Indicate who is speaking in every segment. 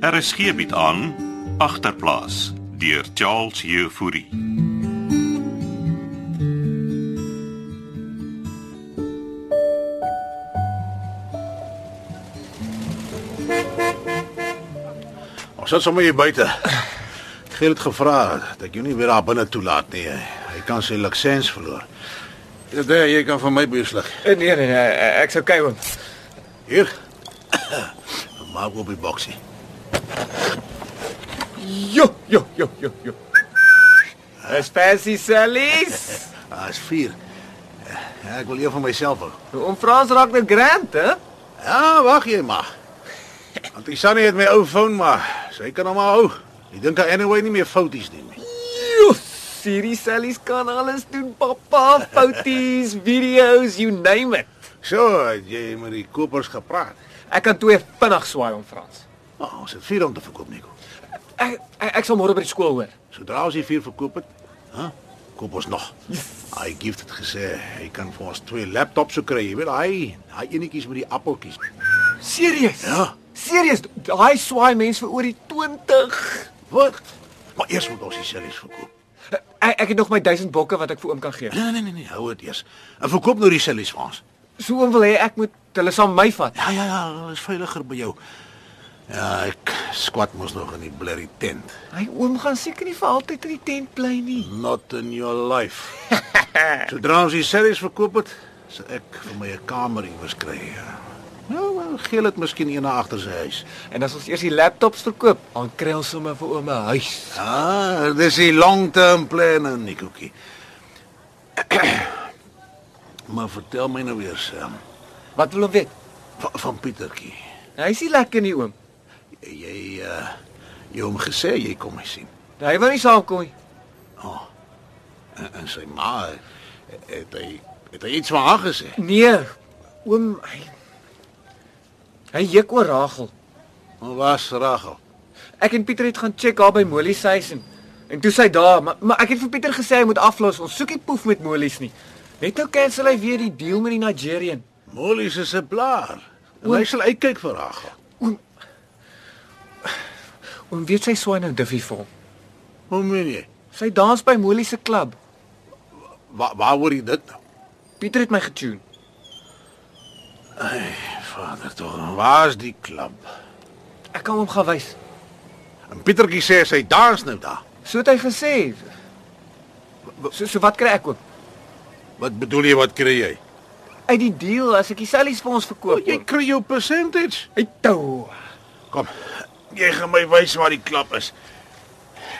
Speaker 1: RSG bied Er aan agterplaas deur Charles Jefouri.
Speaker 2: Ons sit sommer hier buite. Geel het gevra dat ek jou nie weer daar binne toelaat nie. Hy kan sy lisens verloor. Dit Ja, daar jy kan van my beslag.
Speaker 3: Nee nee, nee ek sou kyk want
Speaker 2: Hier. Maak op die boksie.
Speaker 3: jo jo jo jo jo. Dis fancy sellies.
Speaker 2: Daar's Ah, vier. Ja, ek wil een van myself hou.
Speaker 3: Oom Frans raak net grand, hè?
Speaker 2: Ja, wag jy maar. Want ek sannie het my ou foon maar. Sy kan hom maar hou. Ek dink hy anyway nie meer fouties neem nie.
Speaker 3: Jo, serie sellies kan alles doen, pappa, foties, video's, you name it.
Speaker 2: So, het jy met die kopers gepraat.
Speaker 3: Ek kan twee vinnig swaai om Frans.
Speaker 2: Nou, ons het vier om te verkoop, Nico.
Speaker 3: Ek ek, ek sal môre by die skool hoor.
Speaker 2: Sodra ons die vier verkoop het, hè, koop ons nog. Hy gee dit gesê, hy kan vir ons twee laptops so kry, jy weet, hy, hy enetjies met die appeltjies.
Speaker 3: Serieus?
Speaker 2: Ja.
Speaker 3: Serieus, daai swaai mense vir oor die 20.
Speaker 2: Wat? Maar eers moet ons die sellies verkoop.
Speaker 3: Ek ek het nog my 1000 bokke wat ek vir oom kan gee.
Speaker 2: Nee nee nee nee, hou dit eers. En verkoop nou die sellies vir ons.
Speaker 3: So oom wil hê ek moet hulle saam my vat.
Speaker 2: Ja ja ja, dit is veiliger by jou. Ja, ek squat mos nog in die blurry tent.
Speaker 3: Hy oom gaan seker nie vir altyd in die tent bly nie.
Speaker 2: Not in your life. Sodra ons die sellies verkoop het, sal ek vir my 'n kamer iewers kry. ja. Nou, wel, geel dit miskien eene agter sy huis.
Speaker 3: En as ons eers die laptops verkoop, dan kry ons sommer vir ouma 'n huis.
Speaker 2: Ah, dis die long-term planne, Nikokie. maar vertel my nou weer Sam,
Speaker 3: Wat wil hom weet?
Speaker 2: van, van Pietertjie.
Speaker 3: Hy's nie lekker nie, oom.
Speaker 2: Jy uh jy hom gesê jy kom my sien. Oh,
Speaker 3: Hy wou nie saamkom nie.
Speaker 2: En, en sy ma het hy het hy iets van haar gesê.
Speaker 3: Nee, oom hy Hy juk oor Ragel.
Speaker 2: Maar was Rachel.
Speaker 3: Ek en Pieter het gaan check haar by Molly se huis en en toe sy daar, maar, maar ek het vir Pieter gesê hy moet aflos. Ons soek nie poef met Mollies nie. Net nou cancel hy weer die deal met die Nigerian.
Speaker 2: Molly is 'n seplaar. En
Speaker 3: Oom-
Speaker 2: hy sal uitkyk vir Rachel.
Speaker 3: Oom weet sy swaai nou Duffy vir hom.
Speaker 2: Hoe meen jy?
Speaker 3: Sy dans by Molly se klub.
Speaker 2: Waar waaroor jy dit nou?
Speaker 3: Pieter het my getune.
Speaker 2: Vader tog, waar's die klap?
Speaker 3: Ek kan hom gaan wys.
Speaker 2: En Pietertjie sê sy dans nou daar.
Speaker 3: So het hy gesê. So, so wat kry ek ook?
Speaker 2: Wat bedoel jy wat kry jy?
Speaker 3: Uit die deal as ek die sellies vir ons verkoop.
Speaker 2: Jy kry jou percentage.
Speaker 3: uit tou.
Speaker 2: Kom. Jy gaan my wys waar die klap is.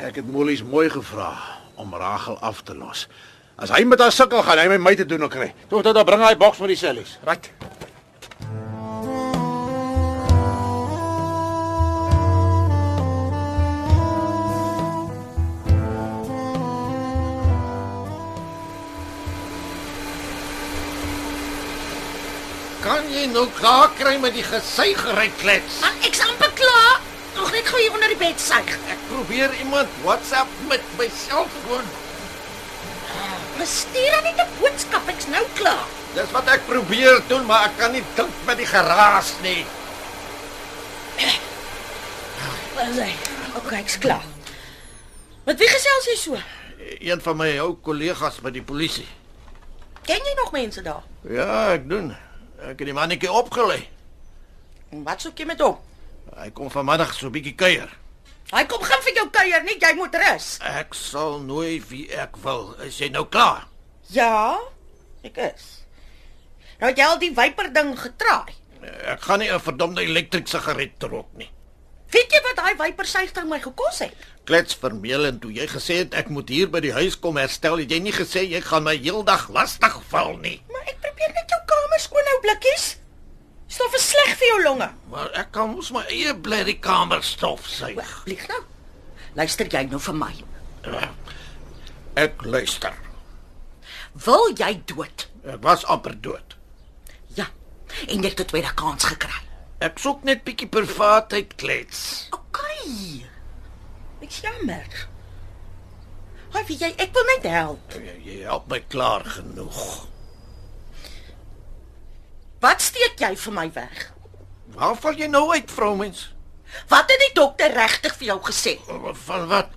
Speaker 2: Ek het Mollies mooi gevra om Rachel af te los. As hy met haar sukkel gaan, hy my my te doen ook kry. Toe tot dan bring hy boks met die sellies.
Speaker 3: Right.
Speaker 4: Kan jy nou klaar kry met die gesuigery klets?
Speaker 5: Man, ek's amper klaar. Nog net gou hier onder die bed suig.
Speaker 4: Ek probeer iemand WhatsApp met my selfoon.
Speaker 5: Bestuur dan net 'n boodskap, ek's nou klaar.
Speaker 4: Dis wat ek probeer doen, maar ek kan nie dink met die geraas nie.
Speaker 5: Waar is hy? OK, ek's klaar. Wat wie gesels jy so?
Speaker 4: Een van my ou kollegas by die polisie.
Speaker 5: Ken jy nog mense daar?
Speaker 4: Ja, ek doen. Ek het die mannetjie opgelei.
Speaker 5: En wat soek jy met hom?
Speaker 4: Hy kom vanmiddag so 'n bietjie kuier.
Speaker 5: Hy kom gaan vir jou kuier, nie jy moet rus.
Speaker 4: Ek sal nooi wie ek wil. Is jy nou klaar?
Speaker 5: Ja, ek is. Nou het jy al die wyper ding getraai.
Speaker 4: Ek gaan nie 'n verdomde elektriese sigaret rook nie.
Speaker 5: Weet jy wat daai wyper suigding my gekos het?
Speaker 4: Klets vermeel en toe jy gesê het ek moet hier by die huis kom herstel, het jy nie gesê jy gaan my heeldag lastig val nie.
Speaker 5: Maar ek probeer net jou kamer skoon hou blikkies. Stof is sleg vir jou longe.
Speaker 4: Maar ek kan mos my eie blerrie kamer stof suig.
Speaker 5: Lieg nou. Luister jy nou vir my?
Speaker 4: Ek luister.
Speaker 5: Wil jy dood?
Speaker 4: Ek was amper dood.
Speaker 5: Ja. En jy het 'n tweede kans gekry.
Speaker 4: Ek soek net bietjie privaatheid klets.
Speaker 5: OK. Ek is jammer. Hoe weet jy ek wil net help.
Speaker 4: Jy, jy help my klaar genoeg.
Speaker 5: Wat steek jy vir my weg?
Speaker 4: Waar val jy nou uit, vroumens?
Speaker 5: Wat het die dokter regtig vir jou gesê?
Speaker 4: Van wat?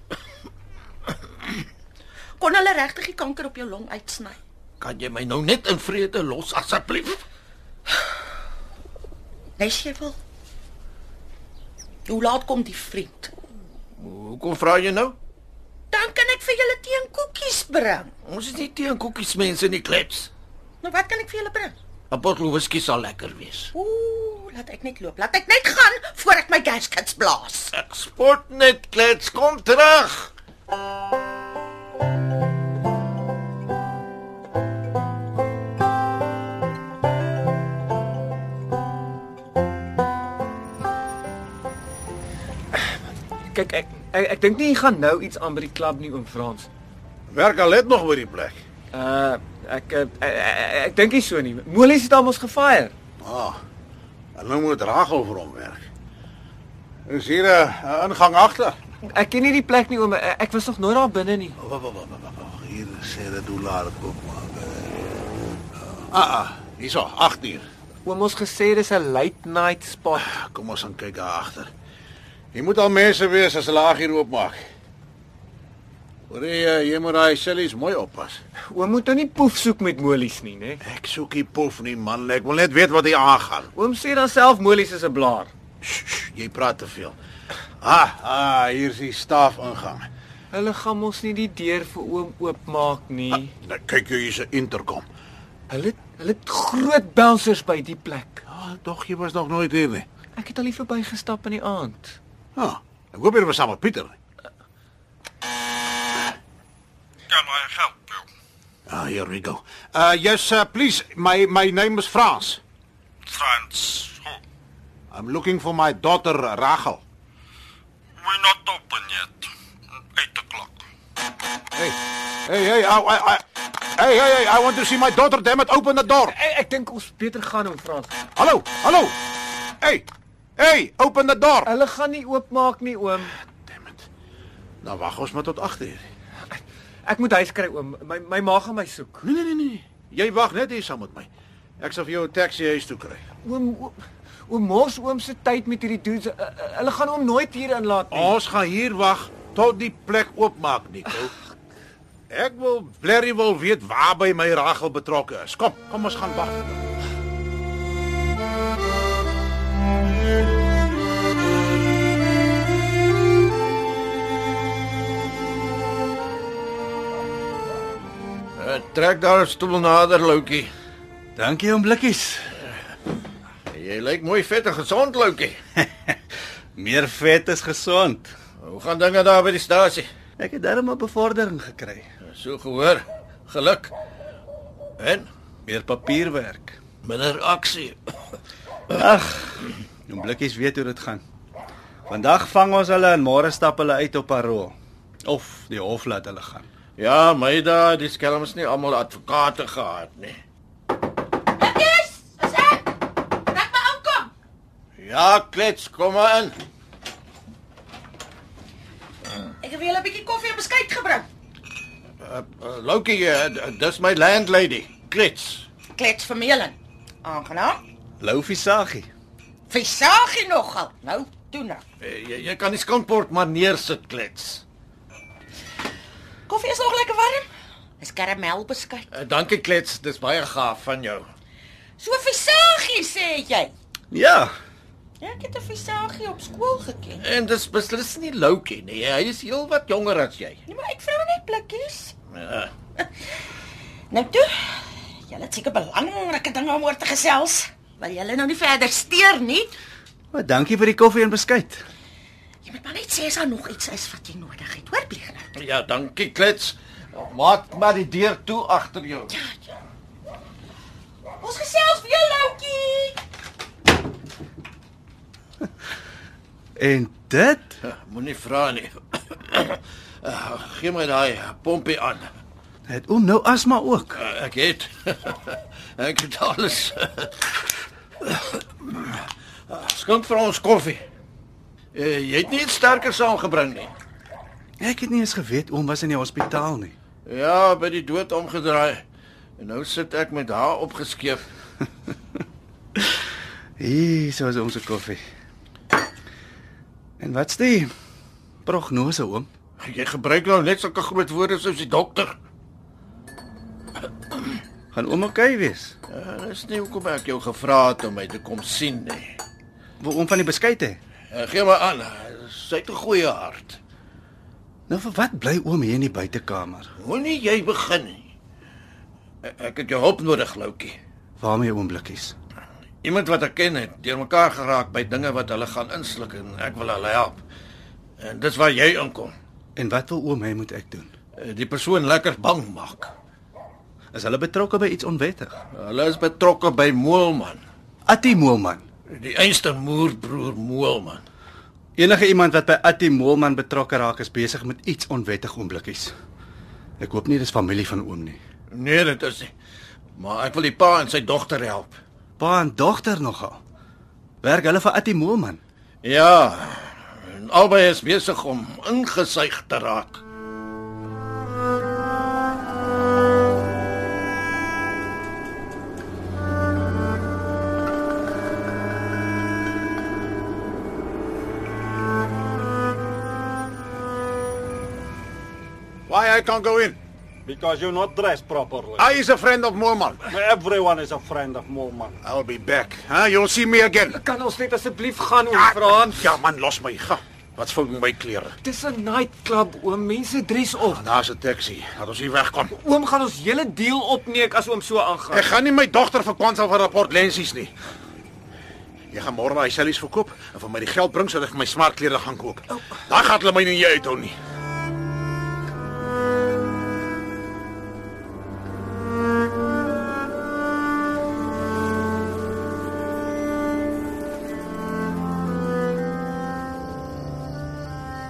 Speaker 5: Kon hulle regtig die kanker op jou long uitsny?
Speaker 4: Kan jy my nou net in vrede los asseblief?
Speaker 5: Wys jy wel? Hoe laat kom die vriend?
Speaker 4: Hoekom vra jy nou?
Speaker 5: Dan kan ek vir julle teen koekies bring.
Speaker 4: Ons is nie teen koekies mense in die klets.
Speaker 5: Nou wat kan ek vir julle bring?
Speaker 4: 'n Bottel whisky sal lekker wees.
Speaker 5: Ooh, laat ek net loop. Laat ek net gaan voor ek my gaskets blaas.
Speaker 4: Ek sport net klets, kom terug.
Speaker 3: Kyk, ek ek, ek dink nie jy gaan nou iets aan by die klub nie, oom Frans.
Speaker 2: Werk al net nog by die plek.
Speaker 3: Uh ek eh, ek, ek, ek dink nie so nie. Molies het almos gefire.
Speaker 2: Ah. En nou moet Rachel vir hom werk. Is hier 'n- 'n ingang agter?
Speaker 3: Ek ken nie die plek nie, oom. Ek ek was nog nooit daar binne nie.
Speaker 2: Wag, wag, wag, wag, wag. Hier sê dit dollar koop maar. Ah, ah, hierso, 8 uur.
Speaker 3: Oom ons gesê dis 'n late night spot.
Speaker 2: Kom ons gaan kyk daar agter. Jy moet al mense wees as hulle laag hier oopmaak. Hoor jy, eh, jy moet daai sellies mooi oppas.
Speaker 3: Oom moet nou nie poef soek met molies nie, né?
Speaker 2: Ek soek hier pof nie man, ek wil net weet wat hier aangaan.
Speaker 3: Oom sê dan self molies is 'n blaar.
Speaker 2: Sst, sst, jy praat te veel. Ah, ah, hier is die staaf ingang.
Speaker 3: Hulle gaan mos nie die deur vir oom oopmaak nie.
Speaker 2: Nou kyk jy hier's 'n interkom.
Speaker 3: Hulle hulle het groot bouncers by die plek.
Speaker 2: Ah, tog jy was nog nooit hier nie.
Speaker 3: Ek het al hier verbygestap in die aand.
Speaker 2: Ah, ek hoop jy was saam met Pieter.
Speaker 6: Kan I help you?
Speaker 2: Ah, here we go. Uh yes, uh, please. My my name is Frans.
Speaker 6: Franz, who?
Speaker 2: I'm looking for my daughter Rachel.
Speaker 6: We're not nou open yet. Eight o'clock.
Speaker 2: Hey. Hey, hey, I, I, I Hey, hey, hey, I want to see my daughter. Damn it, open the door.
Speaker 3: Ek, ek dink ons beter gaan oom Frans.
Speaker 2: Hallo, hallo. Hey. Hey, open the door.
Speaker 3: Hulle gaan nie oopmaak nie, oom.
Speaker 2: Damn it. Nou wag ons maar tot 8 uur.
Speaker 3: Ek moet huis kry, oom. My my ma gaan my soek.
Speaker 2: Nee, nee, nee, nee. Jy wag net hier saam met my. Ek sal vir jou 'n taxi huis toe kry.
Speaker 3: Oom oom- oom mors oom se tyd met hierdie dudes. Uh, uh, Hulle gaan hom nooit hier inlaat nie.
Speaker 2: Ons gaan hier wag tot die plek oopmaak, Nico. Ek wil blerrie wil weet waar by my Rachel betrokke is. Kom, kom ons gaan wag.
Speaker 4: Uh, trek daar 'n stoel nader, Loukie.
Speaker 7: Dankie oom Blikkies.
Speaker 4: Jy lyk mooi vet en gesond, Loukie.
Speaker 7: Meer vet is gesond.
Speaker 4: Hoe gaan dinge daar by die stasie?
Speaker 7: Ek het darm 'n bevordering gekry.
Speaker 4: So gehoor. Geluk. En
Speaker 7: Meer papierwerk.
Speaker 4: minder aksie.
Speaker 7: Ag, oom Blikkies weet hoe dit gaan. Vandag vang ons hulle en môre stap hulle uit op parol. Of die hof laat hulle gaan.
Speaker 4: Ja, my da, die skelms nie almal advokate gehad nie.
Speaker 5: Yes, is ek. Laat my aankom.
Speaker 4: Ja, klets, kom maar in.
Speaker 5: Ek het vir julle 'n bietjie koffie en beskuit gebring.
Speaker 4: Uh, Loukie, uh, d- dis my landlady. Klets.
Speaker 5: Klets vermeling. Aangenaam.
Speaker 7: Loufie Saggie.
Speaker 5: Visagie nogal. Nou, toe nou.
Speaker 4: Uh, jy, jy kan die skankbord maar neersit, klets.
Speaker 5: Koffie is nog lekker warm. Is karamel beskuit.
Speaker 4: Uh, dankie, klets, dis baie gaaf van jou.
Speaker 5: So visagie sê jy.
Speaker 7: Ja,
Speaker 5: Ja, ek het 'n visagie op skool geken.
Speaker 4: En dis beslis nie Loukie nie. Hy is heelwat jonger as jy.
Speaker 5: Nee, maar ek vra net blikkies.
Speaker 4: Uh,
Speaker 5: Nou toe. Julle het seker belangrike dinge om oor te gesels. Wil julle nou nie verder steur nie?
Speaker 7: maar dankie vir die koffie en beskuit.
Speaker 5: Jy moet maar net sê as daar nog iets is wat jy nodig het, hoor pleeg nou.
Speaker 4: ja, dankie, klets. Maak maar die deur toe agter jou.
Speaker 5: Ons gesels weer loukie.
Speaker 7: En dit?
Speaker 4: Uh, Moenie vra nie. Uh, Gee my daai pompie aan.
Speaker 7: Het oom nou asma ook?
Speaker 4: Uh, ek het ek het alles. Skink vir ons koffie. Uh, jy het nie iets sterker saamgebring nie.
Speaker 7: Ek het nie eens geweet oom was in die hospitaal nie.
Speaker 4: Ja, by die dood omgedraai. En nou sit ek met haar opgeskeef.
Speaker 7: Hier is ons koffie. En wat's die prognose oom?
Speaker 2: Jy gebruik nou net sulke groot woorde soos die dokter.
Speaker 7: Gaan oom oukei wees?
Speaker 2: Ja, dis nie hoekom ek jou gevra het om my te kom sien nie.
Speaker 7: Wil oom van die beskeid hê?
Speaker 2: Eh, Gee my aan. Sy het 'n goeie hart.
Speaker 7: Nou vir wat bly oom hier in die buitekamer?
Speaker 2: Moenie jy begin nie. E- Ek het jou hulp nodig, Loukie.
Speaker 7: Waarmee oom blikkies?
Speaker 2: Iemand wat ek ken het deurmekaar geraak by dinge wat hulle gaan insluk en ek wil hulle help. En dis waar jy inkom.
Speaker 7: En wat wil oom hê moet ek doen?
Speaker 2: Eh, Die persoon lekker bang maak.
Speaker 7: Is hulle betrokke by iets onwettig?
Speaker 2: Hulle is betrokke by Moelman,
Speaker 7: Attie Moelman.
Speaker 2: die einste moerbroer Moelman.
Speaker 7: Enige iemand wat by Attie Moelman betrokke raak is besig met iets onwettig oom blikkies. Ek hoop nie dis familie van oom nie.
Speaker 2: Nee, dit is nie. Maar ek wil die pa en sy dogter help.
Speaker 7: Pa en dogter nogal. Werk hulle vir Attie Moelman?
Speaker 2: Ja. En albei is besig om ingesuig te raak.
Speaker 8: Why I can't go in?
Speaker 9: Because you're not dressed properly.
Speaker 8: I is a friend of Mormon.
Speaker 9: Everyone is a friend of Mormon.
Speaker 8: I'll be back. Huh? You'll see me again.
Speaker 3: Kan ons net asseblief gaan oom Frans?
Speaker 8: Ja man, los my. Ga. Wat fout met my klere?
Speaker 3: Dis 'n nightclub oom, mense dress op.
Speaker 8: Daar's 'n taxi. Laat ons hier wegkom.
Speaker 3: Oom gaan ons hele deel opneek as oom so
Speaker 8: Ek
Speaker 3: aangaan.
Speaker 8: gaan nie my dogter vir Kwansel vir rapport lensies nie. Jy gaan môre daai sellies verkoop en vir my die geld bring sodat ek my smartklere gaan koop. Daar gaan hulle my nie hier uithou nie.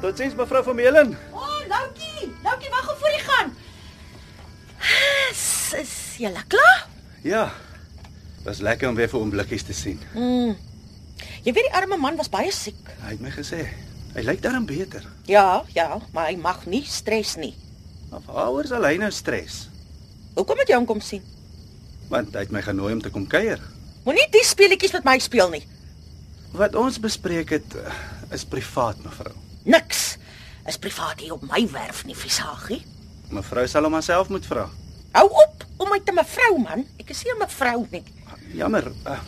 Speaker 7: Totsiens mevrou Vermeulen.
Speaker 5: O, oh, Loukie, Loukie wag gou voor jy gaan. Is, Ah, is jy klaar?
Speaker 7: Ja. Was lekker om weer vir oom blikkies te sien.
Speaker 5: Jy weet die arme man was baie siek.
Speaker 7: Hy het my gesê hy lyk darm beter.
Speaker 5: Ja, ja, maar hy mag nie stres nie.
Speaker 7: Maar waaroor sal hy nou stres?
Speaker 5: Hoekom het jy hom kom sien?
Speaker 7: Want hy het my genooi om te kom kuier.
Speaker 5: Moenie die speletjies met my speel nie.
Speaker 7: Wat ons bespreek het eh, is privaat mevrou.
Speaker 5: Niks is privaat hier op my werf nie, visagie.
Speaker 7: Mevrou sal hom myself moet vra.
Speaker 5: Hou op om my te mevrou man. Ek is nie 'n mevrou nie.
Speaker 7: Jammer. Uh,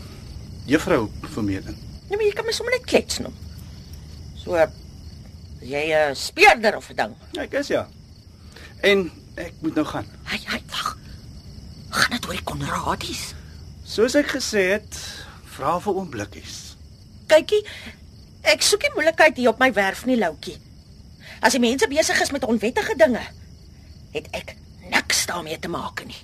Speaker 7: Juffrou Vermeulen.
Speaker 5: Nee, maar jy kan my sommer net klets noem. So is jy 'n speerder of 'n ding.
Speaker 7: Ek is ja. En ek moet nou gaan.
Speaker 5: Hy hy wag. Gaan dit oor die Konradies?
Speaker 7: Soos ek gesê het, vra vir oom blikkies.
Speaker 5: Kykie, ek soek nie moeilikheid hier op my werf nie, Loukie. As die mense besig is met onwettige dinge, het ek niks daarmee te maak nie.